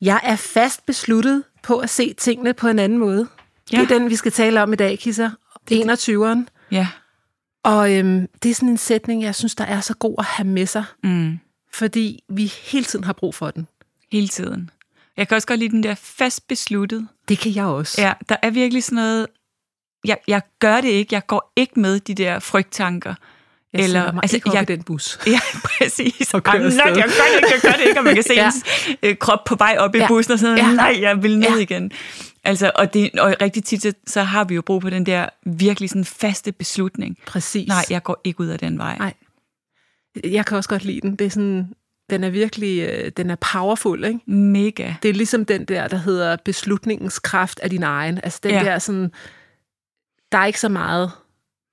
Jeg er fast besluttet på at se tingene på en anden måde. Ja. Ja. Det er den, vi skal tale om i dag, Kisser. 21'eren. Ja. Og øhm, det er sådan en sætning, jeg synes, der er så god at have med sig, Mm. fordi vi hele tiden har brug for den. Hele tiden. Jeg kan også godt lide den der fast besluttet. Det kan jeg også. Ja, der er virkelig sådan noget, jeg, jeg gør det ikke, jeg går ikke med de der frygttanker. jeg eller, mig altså, ikke op jeg, jeg, i den bus. Ja, præcis. Og kører Ej, nej, afsted. jeg gør det ikke, jeg gør det ikke, og man kan se ja. Ja. ens øh, krop på vej op i Ja. bussen og sådan noget. Ja. Nej, jeg vil ned Ja. igen. Altså, og, det, og rigtig tit, så, så har vi jo brug for den der virkelig sådan faste beslutning. Præcis. Nej, jeg går ikke ud af den vej. Nej. jeg kan også godt lide den. Det er sådan, den er virkelig, øh, den er powerful, ikke? Mega. Det er ligesom den der, der hedder beslutningens kraft af din egen. Altså den Ja. ja. der sådan, der er ikke så meget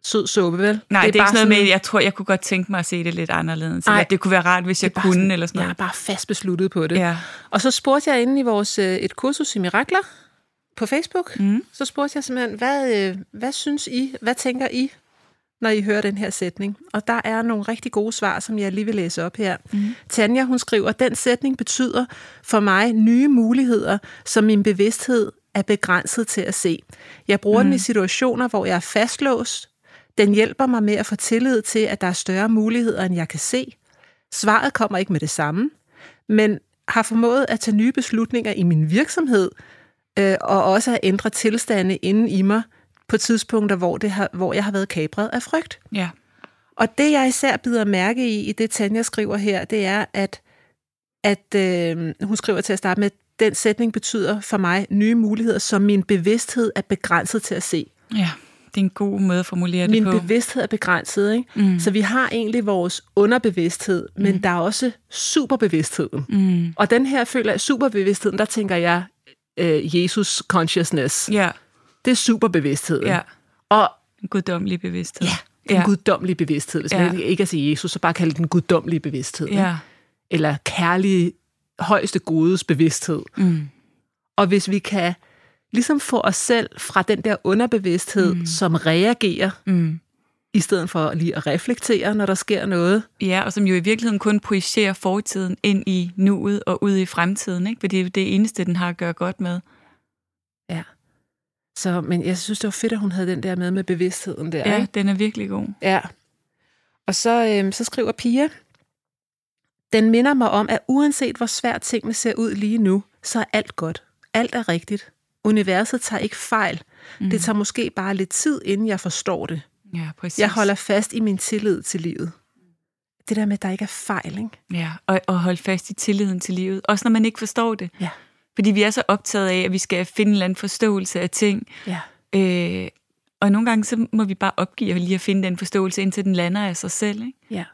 sød suppe, vel? Nej, det er, det er ikke bare sådan noget sådan, med, jeg tror, jeg kunne godt tænke mig at se det lidt anderledes. Nej. Eller, det kunne være rart, hvis jeg bare kunne, sådan, eller sådan jeg er noget. bare fast besluttet på det. Ja. Og så spurgte jeg inde i vores øh, et kursus i mirakler på Facebook, Mm. så spurgte jeg simpelthen, hvad, øh, hvad synes I, hvad tænker I, når I hører den her sætning? Og der er nogle rigtig gode svar, som jeg lige vil læse op her. Mm. Tanja, hun skriver, den sætning betyder for mig nye muligheder, som min bevidsthed er begrænset til at se. Jeg bruger mm. den i situationer, hvor jeg er fastlåst. Den hjælper mig med at få tillid til, at der er større muligheder, end jeg kan se. Svaret kommer ikke med det samme, men har formået at tage nye beslutninger i min virksomhed, øh, og også at ændre tilstande inden i mig på tidspunkter, hvor, det har, hvor jeg har været kabret af frygt. Ja. Og det, jeg især bider mærke i, i det Tanja skriver her, det er, at, at øh, hun skriver til at starte med, den sætning betyder for mig nye muligheder, som min bevidsthed er begrænset til at se. ja, det er en god måde at formulere Min det på. bevidsthed er begrænset, ikke? Mm. Så vi har egentlig vores underbevidsthed, men mm. der er også superbevidstheden. Mm. Og den her føler jeg, superbevidstheden, der tænker jeg øh, Jesus consciousness. Ja, Det er superbevidstheden. ja. Og En guddommelig bevidsthed. ja, den ja. guddommelige bevidsthed. Hvis Ja. man ikke er sige Jesus, så bare kalde den guddommelige bevidsthed. ikke? ja. Eller kærlige, højeste godes bevidsthed. Mm. Og hvis vi kan ligesom få os selv fra den der underbevidsthed, mm. som reagerer, Mm. i stedet for lige at reflektere, når der sker noget. Ja, og som jo i virkeligheden kun projicerer fortiden ind i nuet og ud i fremtiden, ikke? For det er jo det eneste, den har at gøre godt med. Ja. Så, men jeg synes, det var fedt, at hun havde den der med med bevidstheden der. Ja, ikke? den er virkelig god. Ja. Og så, øhm, så skriver Pia, den minder mig om, at uanset hvor svært tingene ser ud lige nu, så er alt godt. Alt er rigtigt. Universet tager ikke fejl. Mm. Det tager måske bare lidt tid, inden jeg forstår det. Ja, præcis. Jeg holder fast i min tillid til livet. Det der med, at der ikke er fejl, ikke? Ja, og, og holde fast i tilliden til livet. Også når man ikke forstår det. Ja. Fordi vi er så optaget af, at vi skal finde en eller anden forståelse af ting. Ja. Øh, og nogle gange, så må vi bare opgive lige at finde den forståelse, indtil den lander af sig selv, ikke? ja.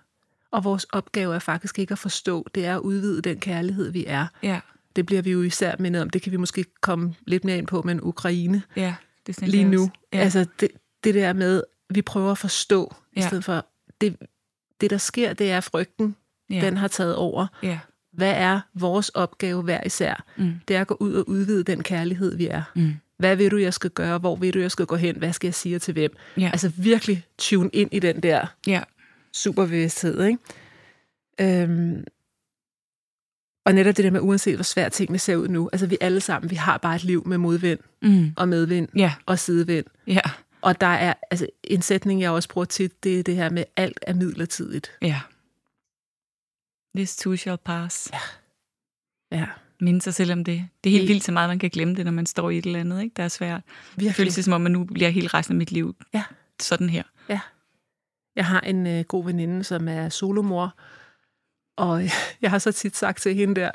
Og vores opgave er faktisk ikke at forstå, det er at udvide den kærlighed, vi er. Ja, Det bliver vi jo især mindet om. Det kan vi måske komme lidt mere ind på med en Ukraine. ja. Det synes lige jeg nu. også. Ja. Ja. Altså det, det der med, vi prøver at forstå, ja. i Ja. stedet for, det, det der sker, det er at frygten, ja, ja. den har taget over. ja. Hvad er vores opgave hver især? Mm. Det er at gå ud og udvide den kærlighed, vi er. Mm. Hvad vil du, jeg skal gøre? Hvor vil du, jeg skal gå hen? Hvad skal jeg sige til hvem? Ja. Altså virkelig tune ind i den der ja. superbevidsthed, ikke? Øhm, og netop det der med, uanset hvor svært tingene ser ud nu, altså vi alle sammen, vi har bare et liv med modvind Mm. og medvind Ja, og sidevind. ja, Og der er altså, en sætning, jeg også bruger tit, det er det her med, alt er midlertidigt. ja. This too shall pass. Ja. minde sig selv om det. Det er helt vildt så meget, man kan glemme det, når man står i et eller andet, ikke? der er svært. Virkelig. Det føles det, som om, man nu bliver hele resten af mit liv Ja. sådan her. Ja. Jeg har en øh, god veninde, som er solomor, og jeg har så tit sagt til hende der,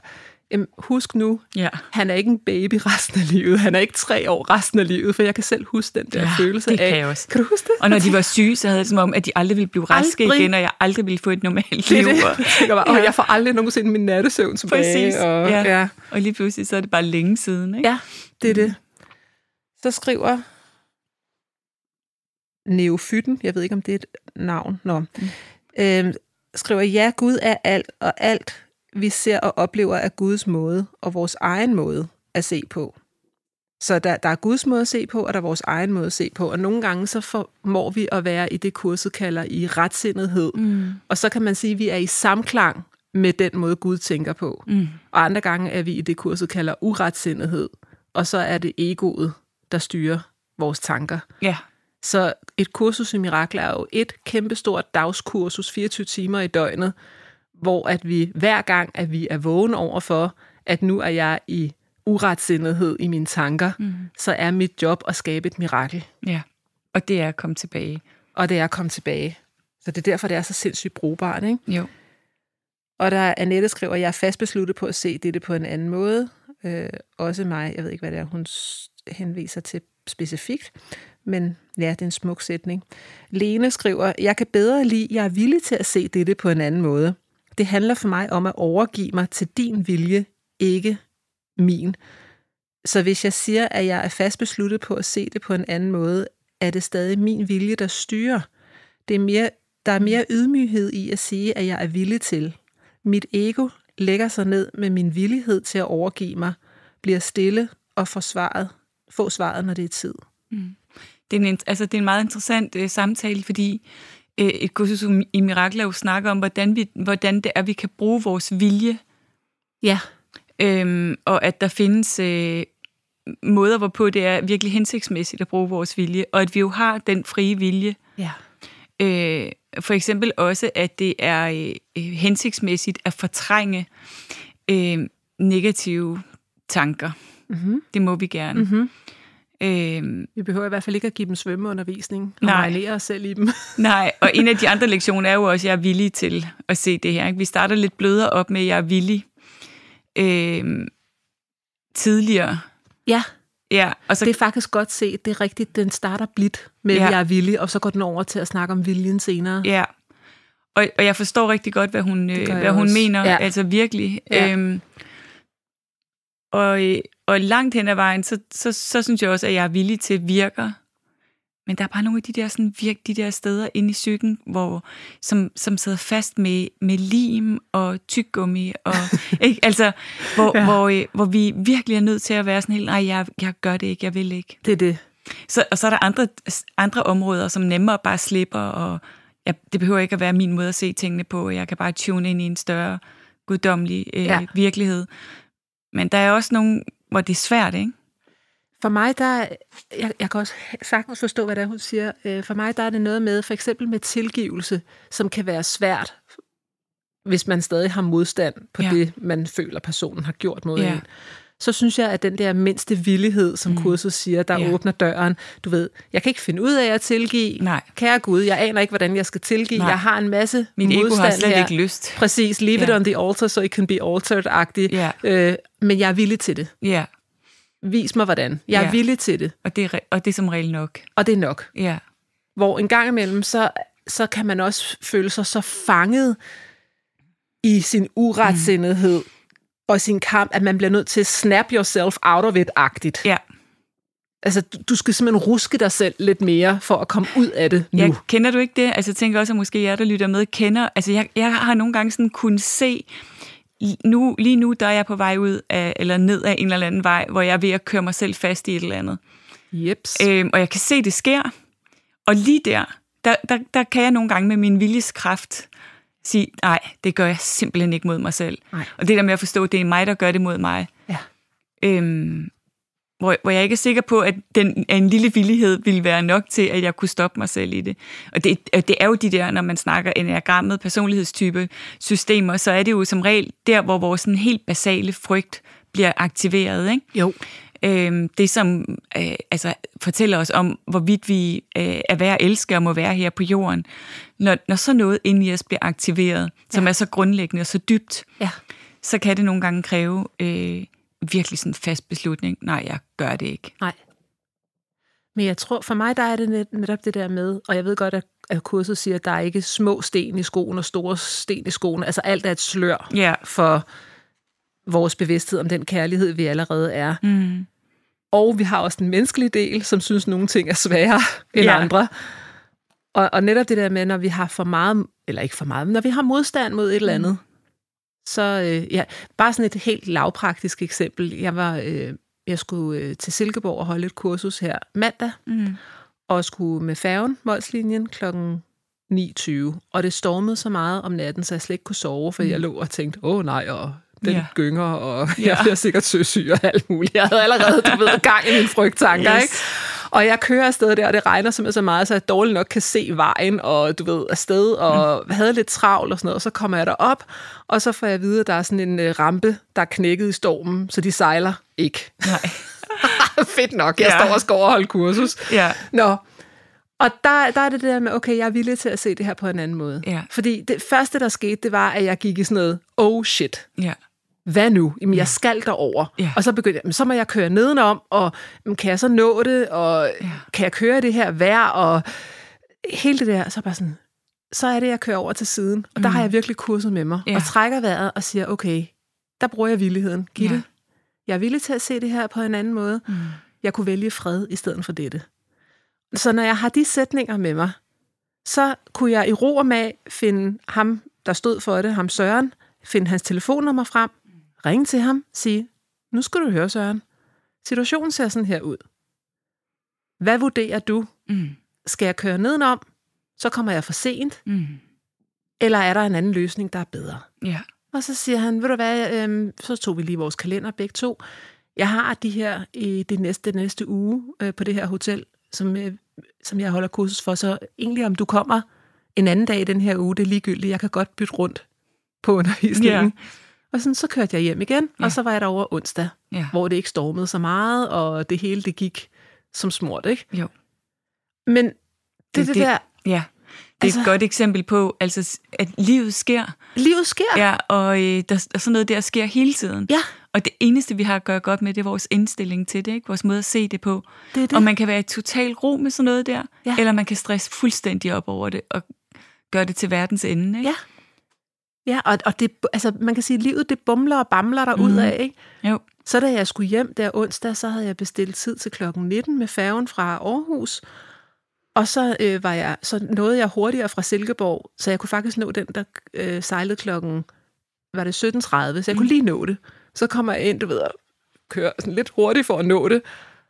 "Jamen, husk nu, Ja. han er ikke en baby resten af livet, han er ikke tre år resten af livet, for jeg kan selv huske den der Ja, følelse det af... kan jeg også. Kan du huske det? Og når de var syge, så havde jeg det som om, at de aldrig ville blive raske Aldrig. igen, og jeg aldrig ville få et normalt det, liv. er det. og- Jeg tænker bare, "Åh, jeg får aldrig nogensinde min nattesøvn tilbage. Præcis. Og, ja. ja. og lige pludselig, så er det bare længe siden. Ikke? Ja, det er det. Mm. Så skriver Neofyten, jeg ved ikke, om det er et navn, Nå. Mm. Øhm, skriver, ja, Gud er alt, og alt vi ser og oplever er Guds måde, og vores egen måde at se på. Så der, der er Guds måde at se på, og der er vores egen måde at se på. Og nogle gange så formår vi at være i det, kurset kalder i retsindighed. Mm. Og så kan man sige, at vi er i samklang med den måde, Gud tænker på. Mm. Og andre gange er vi i det, kurset kalder uretsindighed. Og så er det egoet, der styrer vores tanker. Ja. Så et kursus i mirakler er jo et kæmpestort dagskursus, 24 timer i døgnet, hvor at vi hver gang, at vi er vågen over for, at nu er jeg i uretsindighed i mine tanker, mm. så er mit job at skabe et mirakel. ja. Og det er at komme tilbage. Og det er at komme tilbage. Så det er derfor, det er så sindssygt brugbart, ikke? Jo. Og der er Annette skriver, jeg er fast besluttet på at se dette på en anden måde. Øh, også mig, jeg ved ikke, hvad det er, hun s- henviser til specifikt, men ja, det er en smuk sætning. Lene skriver, jeg kan bedre lide, jeg er villig til at se dette på en anden måde. Det handler for mig om at overgive mig til din vilje, ikke min. Så hvis jeg siger, at jeg er fast besluttet på at se det på en anden måde, er det stadig min vilje, der styrer. Det er mere, der er mere ydmyghed i at sige, at jeg er villig til. Mit ego lægger sig ned med min villighed til at overgive mig, bliver stille og får svaret, får svaret, når det er tid. Det er en, int- altså, det er en meget interessant øh, samtale, fordi øh, et kursus i- i mirakler jo snakker om, hvordan, vi, hvordan det er, vi kan bruge vores vilje, Ja. øhm, og at der findes øh, måder, hvorpå det er virkelig hensigtsmæssigt at bruge vores vilje, og at vi jo har den frie vilje, Ja. Øh, for eksempel også, at det er øh, øh, hensigtsmæssigt at fortrænge øh, negative tanker. Mm-hmm. Det må vi gerne. Mhm. Øh, Vi behøver i hvert fald ikke at give dem svømmeundervisning og Nej. marinere os selv i dem. nej, og en af de andre lektioner er jo også, at jeg er villig til at se det her. Ikke? Vi starter lidt blødere op med, at jeg er villig øh, tidligere. ja, Ja, og så det er faktisk godt set. Det er rigtigt, den starter blidt med, Ja. ja. jeg er villig, og så går den over til at snakke om viljen senere. Ja. Og, og jeg forstår rigtig godt, hvad hun, øh, gør jeg hvad hun også. mener, ja. Ja. altså virkelig. Ja. Ja. Øhm, og, øh, og langt hen ad vejen, så, så, så synes jeg også, at jeg er villig til virker. Men der er bare nogle af de der, sådan, virk, de der steder inde i psyken, hvor, som, som sidder fast med, med lim og tyggummi. Og, ikke? Altså, hvor, ja. Ja. hvor, øh, hvor vi virkelig er nødt til at være sådan helt, nej, jeg, jeg gør det ikke, jeg vil ikke. Det er det. Så, og så er der andre, andre områder, som nemmere bare slipper, og ja, det behøver ikke at være min måde at se tingene på. Jeg kan bare tune ind i en større guddommelig øh, ja. Ja. virkelighed. Men der er også nogle, hvor det er svært, ikke? For mig, der er- jeg, jeg kan også sagtens forstå, hvad det er, hun siger. Øh, For mig, der er det noget med, for eksempel med tilgivelse, som kan være svært, hvis man stadig har modstand på Ja. ja. det, man føler, personen har gjort mod Ja. ja. en. Så synes jeg, at den der mindste villighed, som mm. kurset siger, der Ja. ja. åbner døren. Du ved, jeg kan ikke finde ud af at tilgive. Nej. Kære Gud, jeg aner ikke, hvordan jeg skal tilgive. Nej. Jeg har en masse Mit modstand ego har slet her. ikke lyst. Præcis, leave Ja. it on the altar, so it can be altered-agtig. Ja. Øh, men jeg er villig til det. Ja, Vis mig, hvordan. Jeg er Ja. ja. villig til det og det er, re- og det er som regel nok. og det er nok. Ja, Hvor en gang imellem, så, så kan man også føle sig så fanget i sin uretsindighed mm. og sin kamp, at man bliver nødt til at snap yourself out of it-agtigt. ja. Altså, du- du skal simpelthen ruske dig selv lidt mere for at komme ud af det nu. Jeg, kender du ikke det? Altså, jeg tænker også, at måske jer, der lytter med, kender. Altså, jeg, jeg har nogle gange sådan kunnet se, li- nu, lige nu, der er jeg på vej ud af, eller ned af en eller anden vej, hvor jeg er ved at køre mig selv fast i et eller andet. Jeps. Øhm, og jeg kan se, det sker. Og lige der, der, der, der kan jeg nogle gange med min viljeskraft sige, nej, det gør jeg simpelthen ikke mod mig selv. Nej. Og det der med at forstå, at det er mig, der gør det mod mig. Ja. Øhm, hvor, hvor jeg ikke er sikker på, at den at en lille villighed ville være nok til, at jeg kunne stoppe mig selv i det. Og det, og det er jo de der, når man snakker enagrammet, personlighedstype systemer, så er det jo som regel der, hvor vores sådan helt basale frygt bliver aktiveret, ikke? Jo. Øhm, det, som øh, altså, fortæller os om, hvorvidt vi øh, er værd at elske og må være her på jorden. Når, når så noget inde i os bliver aktiveret, som er så grundlæggende og så dybt, Ja. så kan det nogle gange kræve øh, virkelig sådan en fast beslutning. Nej, jeg gør det ikke. Nej. Men jeg tror, for mig der er det net- netop det der med, og jeg ved godt, at, at kurset siger, at der er ikke små sten i skoen og store sten i skoen. Altså alt er et slør Ja. for vores bevidsthed om den kærlighed, vi allerede er. Mm. Og vi har også den menneskelige del, som synes, nogle ting er sværere end Ja. ja. andre. Og, og netop det der med, når vi har for meget, eller ikke for meget, men når vi har modstand mod et eller andet, så øh, ja, bare sådan et helt lavpraktisk eksempel. Jeg var, øh, jeg skulle øh, til Silkeborg og holde et kursus her mandag, Mm. og skulle med færgen, Molslinjen, kl. 9.20. Og det stormede så meget om natten, så jeg slet ikke kunne sove, for jeg lå og tænkte, åh nej, og den Mm. Ja. ja. gynger, og Ja. jeg bliver sikkert søsyg og alt muligt. Jeg havde allerede, du ved, gang i mine frygttanker, Yes. yes. ikke? Og jeg kører afsted der, og det regner simpelthen så meget, så jeg dårligt nok kan se vejen, og du ved, afsted, og Mm. havde lidt travlt og sådan noget, og så kommer jeg derop, og så får jeg at vide, at der er sådan en øh, rampe, der er knækket i stormen, så de sejler ikke. Nej. Fedt nok, jeg Ja. ja. står og skal overholde kursus. Ja. Nå, og der, der er det det der med, okay, jeg er villig til at se det her på en anden måde. Ja. Fordi det første, der skete, det var, at jeg gik i sådan noget, oh shit, Ja. hvad nu? Jamen, jeg skal derover. Ja. Og så begyndte jeg, "Men så må jeg køre nedenom, og "Men kan jeg så nå det, og ja. kan jeg køre i det her vejr, og hele det der, så bare sådan, så er det, jeg kører over til siden. Og der har jeg virkelig kurset med mig, Mm. Ja. og trækker vejret og siger, okay, der bruger jeg villigheden. Gitte, Ja. ja. jeg er villig til at se det her på en anden måde. Mm. Jeg kunne vælge fred i stedet for dette. Så når jeg har de sætninger med mig, så kunne jeg i ro og mag finde ham, der stod for det, ham Søren, finde hans telefonnummer frem, ringe til ham, sige, nu skal du høre Søren, situationen ser sådan her ud. Hvad vurderer du? Mm. Skal jeg køre nedenom? Så kommer jeg for sent, Mm. eller er der en anden løsning, der er bedre? Ja. Og så siger han, ved du hvad, øhm, så tog vi lige vores kalender begge to. Jeg har de her i det næste, den næste uge øh, på det her hotel, som, øh, som jeg holder kursus for. Så egentlig om du kommer en anden dag i den her uge, det er ligegyldigt. Jeg kan godt bytte rundt på undervisningen. Ja. Yeah. Og sådan, så kørte jeg hjem igen, yeah. og så var jeg derovre onsdag, Ja. hvor det ikke stormede så meget, og det hele det gik som smurt, ikke? Jo. Men det, det, det der, Ja. Det er altså, et Altså- godt eksempel på, altså, at livet sker, livet sker. ja, og øh, der, der sådan noget der sker hele tiden. Ja. Og det eneste, vi har at gøre godt med, det er vores indstilling til det, ikke? vores måde at se det på. Det er det. Og man kan være i total ro med sådan noget der, Ja. eller man kan stresse fuldstændig op over det og gøre det til verdens ende. Ikke? Ja. Ja, og, og det, altså, man kan sige, at livet det bumler og bamler der ud Mhm. af, ikke? Jo. Så da jeg skulle hjem der onsdag, så havde jeg bestilt tid til klokken 19 med færgen fra Aarhus. Og så, øh, var jeg, så nåede jeg hurtigere fra Silkeborg, så jeg kunne faktisk nå den, der øh, sejlede klokken var det 17.30, så jeg kunne lige nå det. Så kommer jeg ind, du ved, og kører sådan lidt hurtigt for at nå det,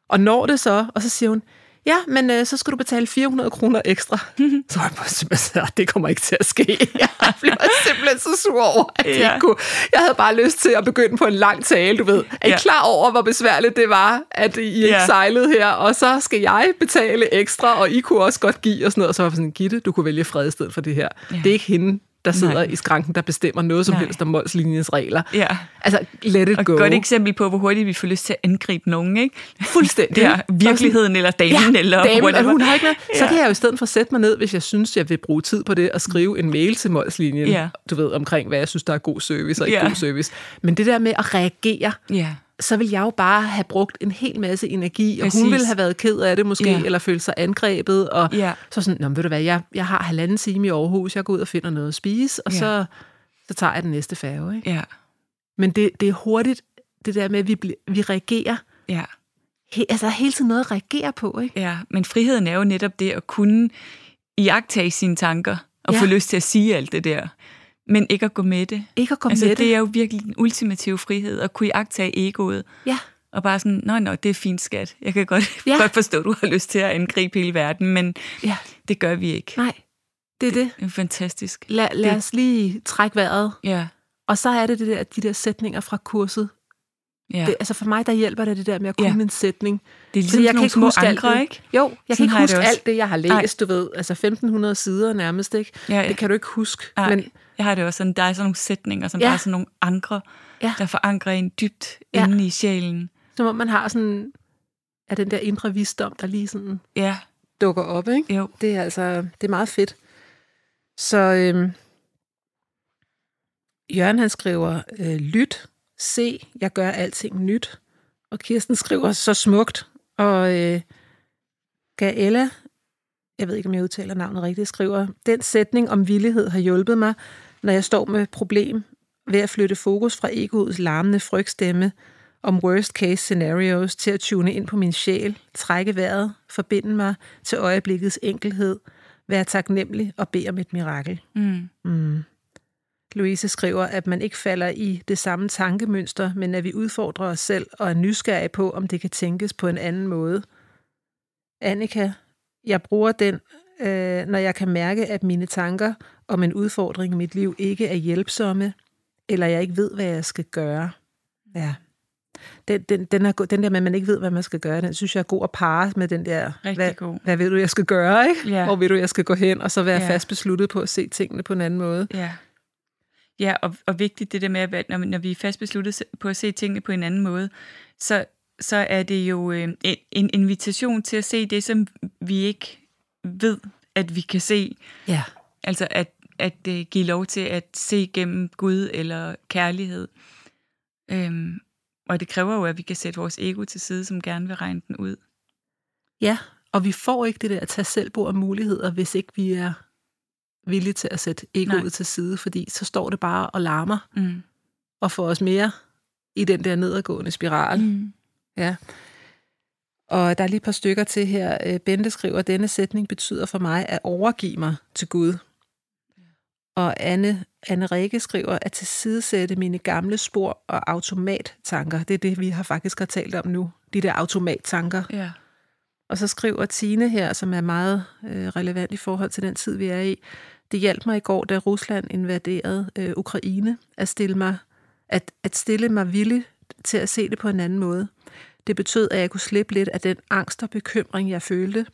og når det så, og så siger hun, ja, men øh, så skal du betale 400 kroner ekstra. så var jeg bare simpelthen, sådan, det kommer ikke til at ske. jeg blev simpelthen så sur over, at jeg Ja. ikke kunne. Jeg havde bare lyst til at begynde på en lang tale, du ved. Er I Ja. klar over, hvor besværligt det var, at I ikke Ja. sejlede her, og så skal jeg betale ekstra, og I kunne også godt give og sådan noget. Og så var jeg sådan, Gitte, du kunne vælge fred i stedet for det her. Ja. Det er ikke hende, der sidder Nej. Nej. i skranken, der bestemmer noget som Nej. Nej. helst om målslinjens regler. Ja. Altså, let it Og go. et godt eksempel på, hvor hurtigt vi får lyst til at angribe nogen. Ikke? Fuldstændig. Det er Og virkeligheden eller damen ja, eller damen, whatever. og hun har ikke noget. Så Ja. kan jeg jo i stedet for sætte mig ned, hvis jeg synes, jeg vil bruge tid på det, og skrive en mail til Molslinjen, Ja. du ved, omkring, hvad jeg synes, der er god service og ikke Ja. god service. Men det der med at reagere, Ja. så vil jeg jo bare have brugt en hel masse energi, og Præcis. Præcis. hun ville have været ked af det måske, Ja. ja. eller følt sig angrebet, og Ja. ja. så sådan, Nå, men ved du hvad, jeg, jeg har halvanden time i Aarhus, jeg går ud og finder noget at spise, og Ja. ja. så, så tager jeg den næste færge. Ikke? Ja. Men det, det er hurtigt, det der med, at vi, bl- vi reagerer, Ja. he, altså der er hele tiden noget at reagere på, ikke? Ja, men friheden er jo netop det at kunne iagtage sine tanker og ja. Ja. få lyst til at sige alt det der, men ikke at gå med det. Ikke at komme altså, med det. det er jo virkelig den ultimative frihed at kunne iagtage egoet Ja, og bare sådan, nå, nå, det er fint, skat. Jeg kan godt, ja. Ja. godt forstå, at du har lyst til at angribe hele verden, men ja, det gør vi ikke. nej, det er det. Det er fantastisk. Lad, lad Det- os lige trække vejret. Ja, Og så er det, det der, de der sætninger fra kurset, Ja. Det, altså for mig, der hjælper det det der med at kunne Ja. ja. en sætning. Det er ligesom Fordi jeg jeg nogle kan ikke små huske alt ankre, det. ikke? Jo, Sådan jeg kan ikke har jeg det huske også. alt det, jeg har læst, Nej. du ved. Altså 1500 sider nærmest, ikke? Ja, ja. Det kan du ikke huske. Ej, Men men, jeg har det også sådan, der er sådan nogle sætninger, som ja. Ja. der er sådan nogle ankre, ja. Ja. der forankrer en dybt ja. Ja. inde i sjælen. som om man har sådan... Er den der indre visdom, der lige sådan Ja, dukker op, ikke? jo. Det er altså det er meget fedt. Så øhm, Jørgen han skriver, øh, lyt, se, jeg gør alting nyt. Og Kirsten skriver så smukt. Og øh, Gaella, jeg ved ikke, om jeg udtaler navnet rigtigt, skriver, den sætning om villighed har hjulpet mig, når jeg står med et problem ved at flytte fokus fra egoets larmende frygtstemme om worst case scenarios til at tune ind på min sjæl, trække vejret, forbinde mig til øjeblikkets enkelhed, være taknemmelig og bede om et mirakel. Mm. Mm. Louise skriver, at man ikke falder i det samme tankemønster, men at vi udfordrer os selv og er nysgerrige på, om det kan tænkes på en anden måde. Annika, jeg bruger den, øh, når jeg kan mærke, at mine tanker om en udfordring i mit liv ikke er hjælpsomme, eller jeg ikke ved, hvad jeg skal gøre. Ja. Den, den, den, er, go- den der med, at man ikke ved, hvad man skal gøre, den synes jeg er god at parre med den der, Rigtig hvad, god. hvad ved du, jeg skal gøre, ikke? Ja. Hvor ved du, jeg skal gå hen, og så være Ja. ja. fast besluttet på at se tingene på en anden måde. Ja. Ja, og, og vigtigt det der med, at når, når vi er fast besluttet se- på at se tingene på en anden måde, så, så er det jo øh, en, en invitation til at se det, som vi ikke ved, at vi kan se. Ja. Altså at, at øh, give lov til at se gennem Gud eller kærlighed. Øhm, og det kræver jo, at vi kan sætte vores ego til side, som gerne vil regne den ud. Ja, og vi får ikke det der at tage selvbord af muligheder, hvis ikke vi er villige til at sætte egoet Nej. Nej. til side, fordi så står det bare og larmer Mm. og får os mere i den der nedadgående spiral. Mm. Ja. Og der er lige et par stykker til her. Øh, Bente skriver, at denne sætning betyder for mig at overgive mig til Gud. Og Anne, Anne Rikke skriver, at tilsidesætte mine gamle spor og automattanker. Det er det, vi har faktisk har talt om nu. De der automattanker. Ja. Og så skriver Tine her, som er meget øh, relevant i forhold til den tid, vi er i. Det hjalp mig i går, da Rusland invaderede øh, Ukraine, at stille, mig, at, at stille mig villig til at se det på en anden måde. Det betød, at jeg kunne slippe lidt af den angst og bekymring, jeg følte.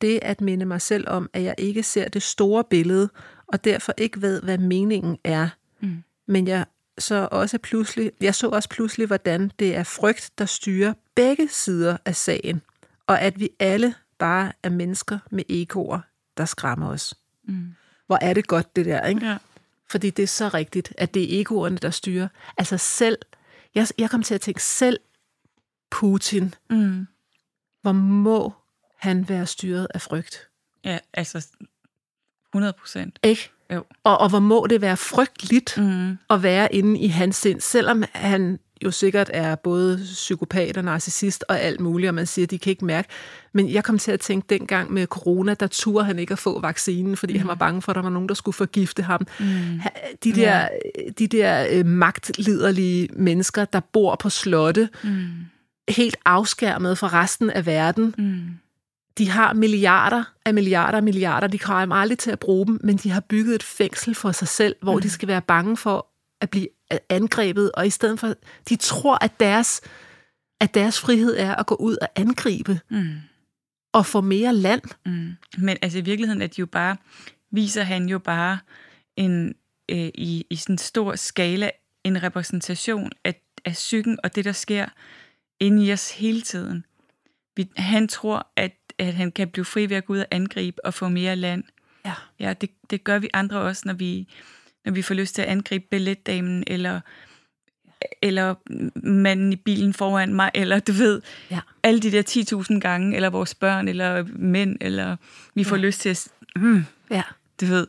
Det at minde mig selv om, at jeg ikke ser det store billede, og derfor ikke ved, hvad meningen er. Mm. Men jeg så også pludselig, jeg så også pludselig, hvordan det er frygt, der styrer begge sider af sagen og at vi alle bare er mennesker med egoer, der skræmmer os. Mm. Hvor er det godt, det der, ikke? ja. Fordi det er så rigtigt, at det er egoerne, der styrer. Altså selv, jeg, jeg kom til at tænke, selv Putin, Mm. hvor må han være styret af frygt? Ja, altså 100 procent. Ikke? Jo. Og, og hvor må det være frygteligt Mm. at være inde i hans sind, selvom han jo sikkert er både psykopat og narcissist og alt muligt, og man siger, at de kan ikke mærke. Men jeg kom til at tænke dengang med corona, der turde han ikke at få vaccinen, fordi mm. han var bange for, at der var nogen, der skulle forgifte ham. Mm. De der, de der øh, magtliderlige mennesker, der bor på slotte, mm. helt afskærmet fra resten af verden, Mm. de har milliarder af milliarder af milliarder. De kommer aldrig til at bruge dem, men de har bygget et fængsel for sig selv, hvor mm. de skal være bange for at blive angrebet, og i stedet for, de tror, at deres, at deres frihed er at gå ud og angribe Mm. og få mere land. Mm. Men altså i virkeligheden er de jo bare, viser han jo bare en, øh, i, i sådan en stor skala en repræsentation af, af psyken og det, der sker inde i os hele tiden. Vi, han tror, at, at han kan blive fri ved at gå ud og angribe og få mere land. Ja. Ja, det, det gør vi andre også, når vi, når vi får lyst til at angribe billetdamen, eller, eller manden i bilen foran mig, eller du ved, Ja. alle de der 10.000 gange, eller vores børn, eller mænd, eller vi får ja. lyst til at... s- Mm, Ja, du ved,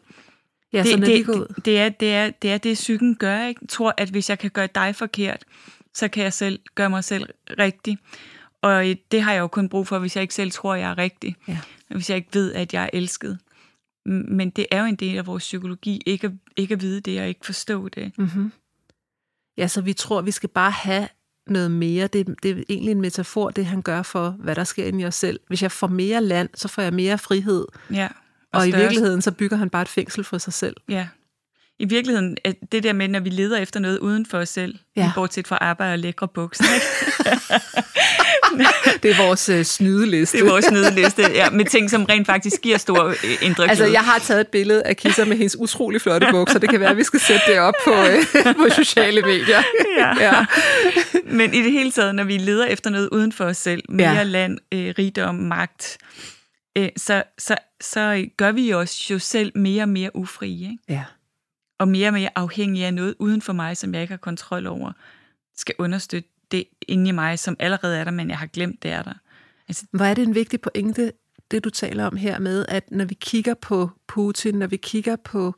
ja det, det, sådan er det, de det, går ud. det, det, er, det, er, det er det, psyken gør, ikke? Tror, at hvis jeg kan gøre dig forkert, så kan jeg selv gøre mig selv rigtig. Og øh, det har jeg jo kun brug for, hvis jeg ikke selv tror, jeg er rigtig. Ja. Hvis jeg ikke ved, at jeg er elsket. M- Men det er jo en del af vores psykologi, ikke at, ikke at vide det og ikke forstå det. Mm-hmm. Ja, så vi tror, vi skal bare have noget mere. Det, det er egentlig en metafor, det han gør for, hvad der sker inde i os selv. Hvis jeg får mere land, så får jeg mere frihed. Ja. Og, og i større- virkeligheden, så bygger han bare et fængsel for sig selv. Ja. i virkeligheden at det der med, når vi leder efter noget uden for os selv, ja. Ja. bortset fra arbejde og lækre bukser, ikke? Det er vores øh, snydeliste. det er vores nødliste ja, med ting, som rent faktisk giver stor øh, indre Altså, glæde. jeg har taget et billede af Kisser med hendes utrolig flotte bukser. Det kan være, at vi skal sætte det op på, øh, på sociale medier. Ja. ja. Men i det hele taget, når vi leder efter noget uden for os selv, mere ja. Ja. land, øh, rigdom, magt, øh, så, så, så gør vi os jo selv mere og mere ufrie, ikke? Ja. og mere og mere afhængige af noget uden for mig, som jeg ikke har kontrol over, skal understøtte det inde i mig, som allerede er der, men jeg har glemt, det er der. Hvor er det en vigtig pointe, det du taler om her med, at når vi kigger på Putin, når vi kigger på,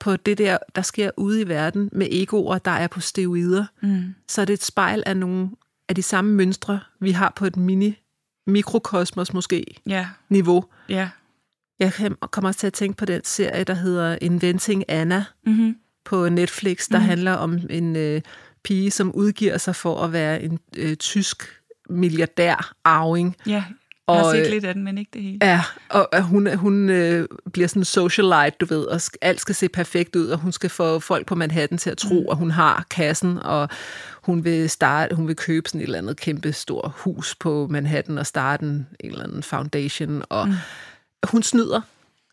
på det der, der sker ude i verden med egoer, der er på steroider, Mm. så er det et spejl af nogle af de samme mønstre, vi har på et mini mikrokosmos måske Ja, niveau. ja. Jeg kan- kommer også til at tænke på den serie, der hedder Inventing Anna Mm-hmm. på Netflix, der mm. handler om en øh, pige, som udgiver sig for at være en øh, tysk milliardær-arving. ja. Jeg har Og, set øh, lidt af den, men ikke det hele. Ja, og at hun, hun øh, bliver sådan en socialite, du ved, og sk- alt skal se perfekt ud, og hun skal få folk på Manhattan til at tro, Mm. at hun har kassen, og hun vil starte, hun vil købe sådan et eller andet kæmpe stor hus på Manhattan og starte en, en eller anden foundation, og mm. hun snyder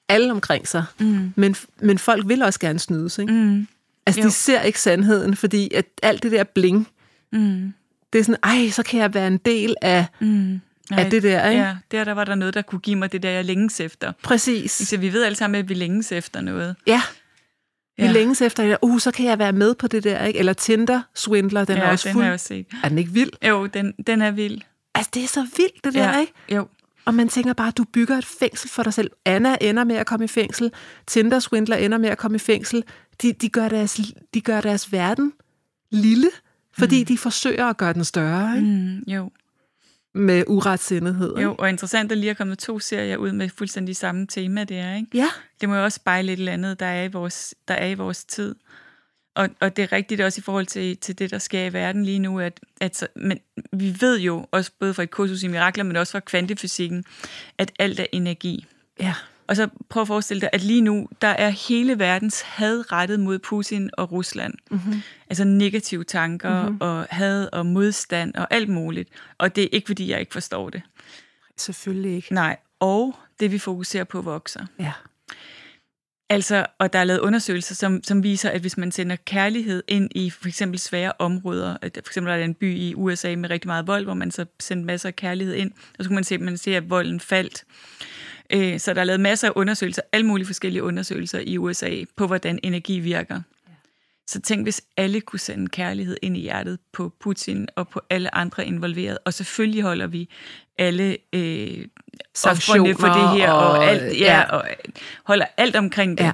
alle omkring sig, mm. men, men folk vil også gerne snydes, ikke? Mm. Altså, Jo. de ser ikke sandheden, fordi at alt det der bling, Mm. det er sådan, ej, så kan jeg være en del af, Mm. Nej, af det der, ikke? Ja, der, der var der noget, der kunne give mig det der, jeg længes efter. Præcis. Så vi ved alle sammen, at vi længes efter noget. Ja. Vi Ja. ja. længes efter det der, uh, så kan jeg være med på det der, ikke? Eller Tinder, Swindler, den ja, er ja, også den fuld. har Er, jeg også set. er den ikke vild? Jo, den, den er vild. Altså, det er så vildt, det der, ja. ikke? Jo, Og man tænker bare, du bygger et fængsel for dig selv. Anna ender med at komme i fængsel. Tinder, Swindler ender med at komme i fængsel. De, de, gør, deres, de gør deres verden lille, fordi mm. de forsøger at gøre den større, ikke? mm, jo, Mm. Med uretsindighed. ikke? jo. Og interessant, at lige er kommet to serier ud med fuldstændig samme tema, det er, ikke? Ja, Det må jo også spejle et eller andet, der er i vores, der er i vores tid. Og, og det er rigtigt også i forhold til, til det, der sker i verden lige nu, at, at så, men vi ved jo, også både fra et kursus i mirakler, men også fra kvantefysikken, at alt er energi. ja, Og så prøv at forestille dig, at lige nu, der er hele verdens had rettet mod Putin og Rusland. Mm-hmm. Altså negative tanker mm-hmm. og had og modstand og alt muligt. Og det er ikke, fordi jeg ikke forstår det. selvfølgelig ikke. Nej, og det vi fokuserer på vokser. Ja. Altså, og der er lavet undersøgelser, som, som viser, at hvis man sender kærlighed ind i for eksempel svære områder, at der- for eksempel er der en by i USA med rigtig meget vold, hvor man så sendte masser af kærlighed ind, og så kunne man se, at man ser, at volden faldt. Øh, så der er lavet masser af undersøgelser, alle mulige forskellige undersøgelser i USA, på hvordan energi virker. Så tænk, hvis alle kunne sende kærlighed ind i hjertet på Putin og på alle andre involverede. Og selvfølgelig holder vi alle øh, ofrene for Sanktioner det her, og, og, og- alt, ja, ja. og holder alt omkring det. Ja.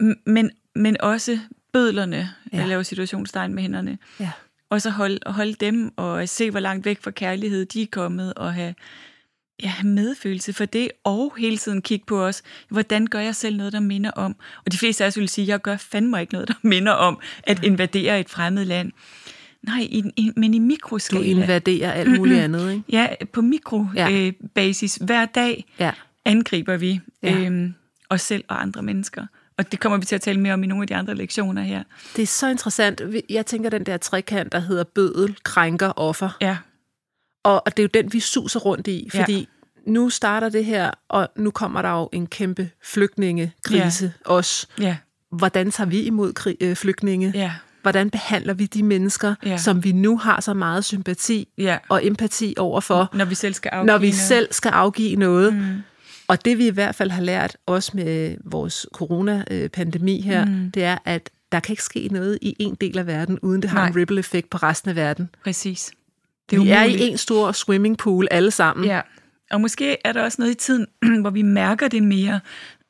M- Men, men også bødlerne, ja. Ja. jeg laver situationstegn med hænderne, Ja. og så holde, og holde dem, og se, hvor langt væk fra kærlighed de er kommet, og have, ja, have medfølelse for det, og hele tiden kigge på os, hvordan gør jeg selv noget, der minder om? Og de fleste af os vil sige, jeg gør fandme ikke noget, der minder om at invadere et fremmed land. Nej, i, den- i, men i Du mikroskala. invaderer alt muligt andet, ikke? ja, på Ja. mikrobasis. Øh, basis. Hver dag Ja. angriber vi Ja. øhm, os selv og andre mennesker. Og det kommer vi til at tale mere om i nogle af de andre lektioner her. Det er så interessant. Vi- Jeg tænker, den der trekant, der hedder bødel, krænker, offer. Ja, Og, og det er jo den, vi suser rundt i, Ja. fordi ja. nu starter det her, og nu kommer der jo en kæmpe flygtningekrise ja. også. ja, Hvordan tager vi imod kri- øh, flygtninge? Ja. ja, Hvordan behandler vi de mennesker, Ja. ja. som vi nu har så meget sympati ja. og empati overfor, Når vi selv skal afgive når vi noget. selv skal afgive noget? Mm. Og det vi i hvert fald har lært, også med vores coronapandemi her, mm. det er, at der kan ikke ske noget i en del af verden, uden det har Nej. en ripple-effekt på resten af verden. Præcis. Det er vi er umuligt. i en stor swimmingpool alle sammen. Ja, og måske er der også noget i tiden, hvor vi mærker det mere.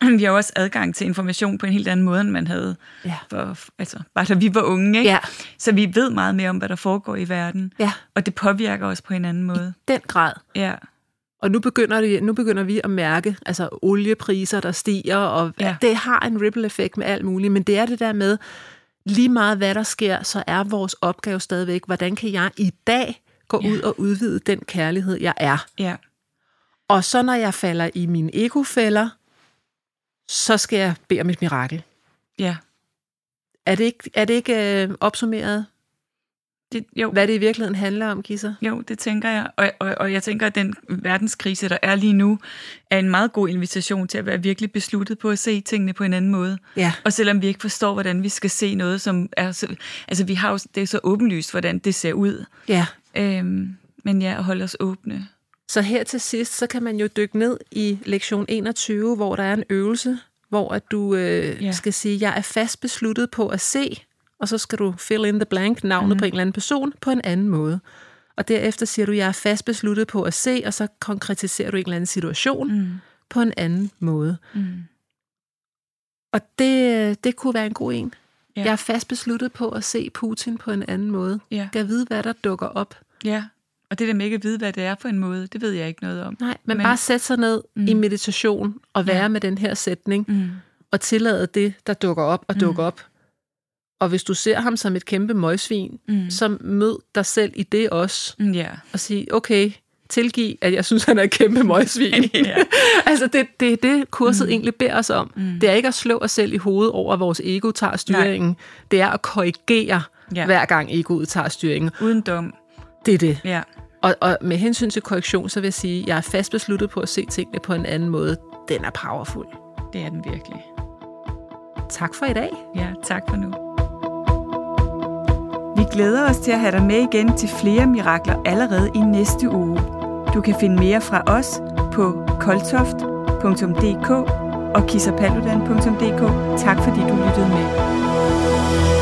Vi har jo også adgang til information på en helt anden måde, end man havde, Ja. for, altså, bare da vi var unge. Ikke? Ja. Så vi ved meget mere om, hvad der foregår i verden. Ja. Og det påvirker os på en anden måde. den grad. Ja, Og nu begynder, det, nu begynder vi at mærke altså oliepriser, der stiger, og Ja. ja. det har en ripple-effekt med alt muligt, men det er det der med, lige meget hvad der sker, så er vores opgave stadigvæk, hvordan kan jeg i dag gå Ja. ja. ud og udvide den kærlighed, jeg er. ja, Og så når jeg falder i mine egofælder, så skal jeg bede om et mirakel. ja. Er det ikke, er det ikke øh, opsummeret, Det, jo, hvad det i virkeligheden handler om, Gisser? jo, det tænker jeg. Og, og, og jeg tænker, at den verdenskrise, der er lige nu, er en meget god invitation til at være virkelig besluttet på at se tingene på en anden måde. Ja. Og selvom vi ikke forstår, hvordan vi skal se noget, som er... Så, altså, vi har jo, det er så åbenlyst, hvordan det ser ud. Ja. Øhm, men ja, at holde os åbne. Så her til sidst, så kan man jo dykke ned i lektion 21, hvor der er en øvelse, hvor at du øh, Ja. ja. skal sige, jeg er fast besluttet på at se, og så skal du fill in the blank navnet Mhm. mm. på en eller anden person på en anden måde. Og derefter siger du, jeg er fast besluttet på at se, og så konkretiserer du en eller anden Mhm. situation mm. på en anden måde. Mm. Og det, øh, det kunne være en god en. Ja. Ja. Jeg er fast besluttet på at se Putin på en anden måde. Ja. Jeg vide, hvad der dukker op. ja. Og det der med ikke at vide, hvad det er for en måde, det ved jeg ikke noget om. Nej, men, Men- Mhm. men bare sætte sig ned mm. i meditation og være Ja. ja. med den her sætning. Mm. og tillade det, der dukker op og dukker op. Og hvis du ser ham som et kæmpe møgsvin, Mm. mm. så mød dig selv i det også, Mm, Ja. og sig, okay, tilgiv, at jeg synes, han er et kæmpe møgsvin. Ja. altså, det er det, det, kurset mm. egentlig beder os om. Mm. Det er ikke at slå os selv i hovedet over, at vores ego tager styringen. Nej. Det er at korrigere, Ja. ja. hver gang egoet tager styringen. Uden dom. Det er det. Ja. Og, og med hensyn til korrektion, så vil jeg sige, at jeg er fast besluttet på at se tingene på en anden måde. Den er powerful. Det er den virkelig. Tak for i dag. Ja, tak for nu. Vi glæder os til at have dig med igen til flere mirakler allerede i næste uge. Du kan finde mere fra os på koltoft.dk og kissapaludan.dk. Tak fordi du lyttede med.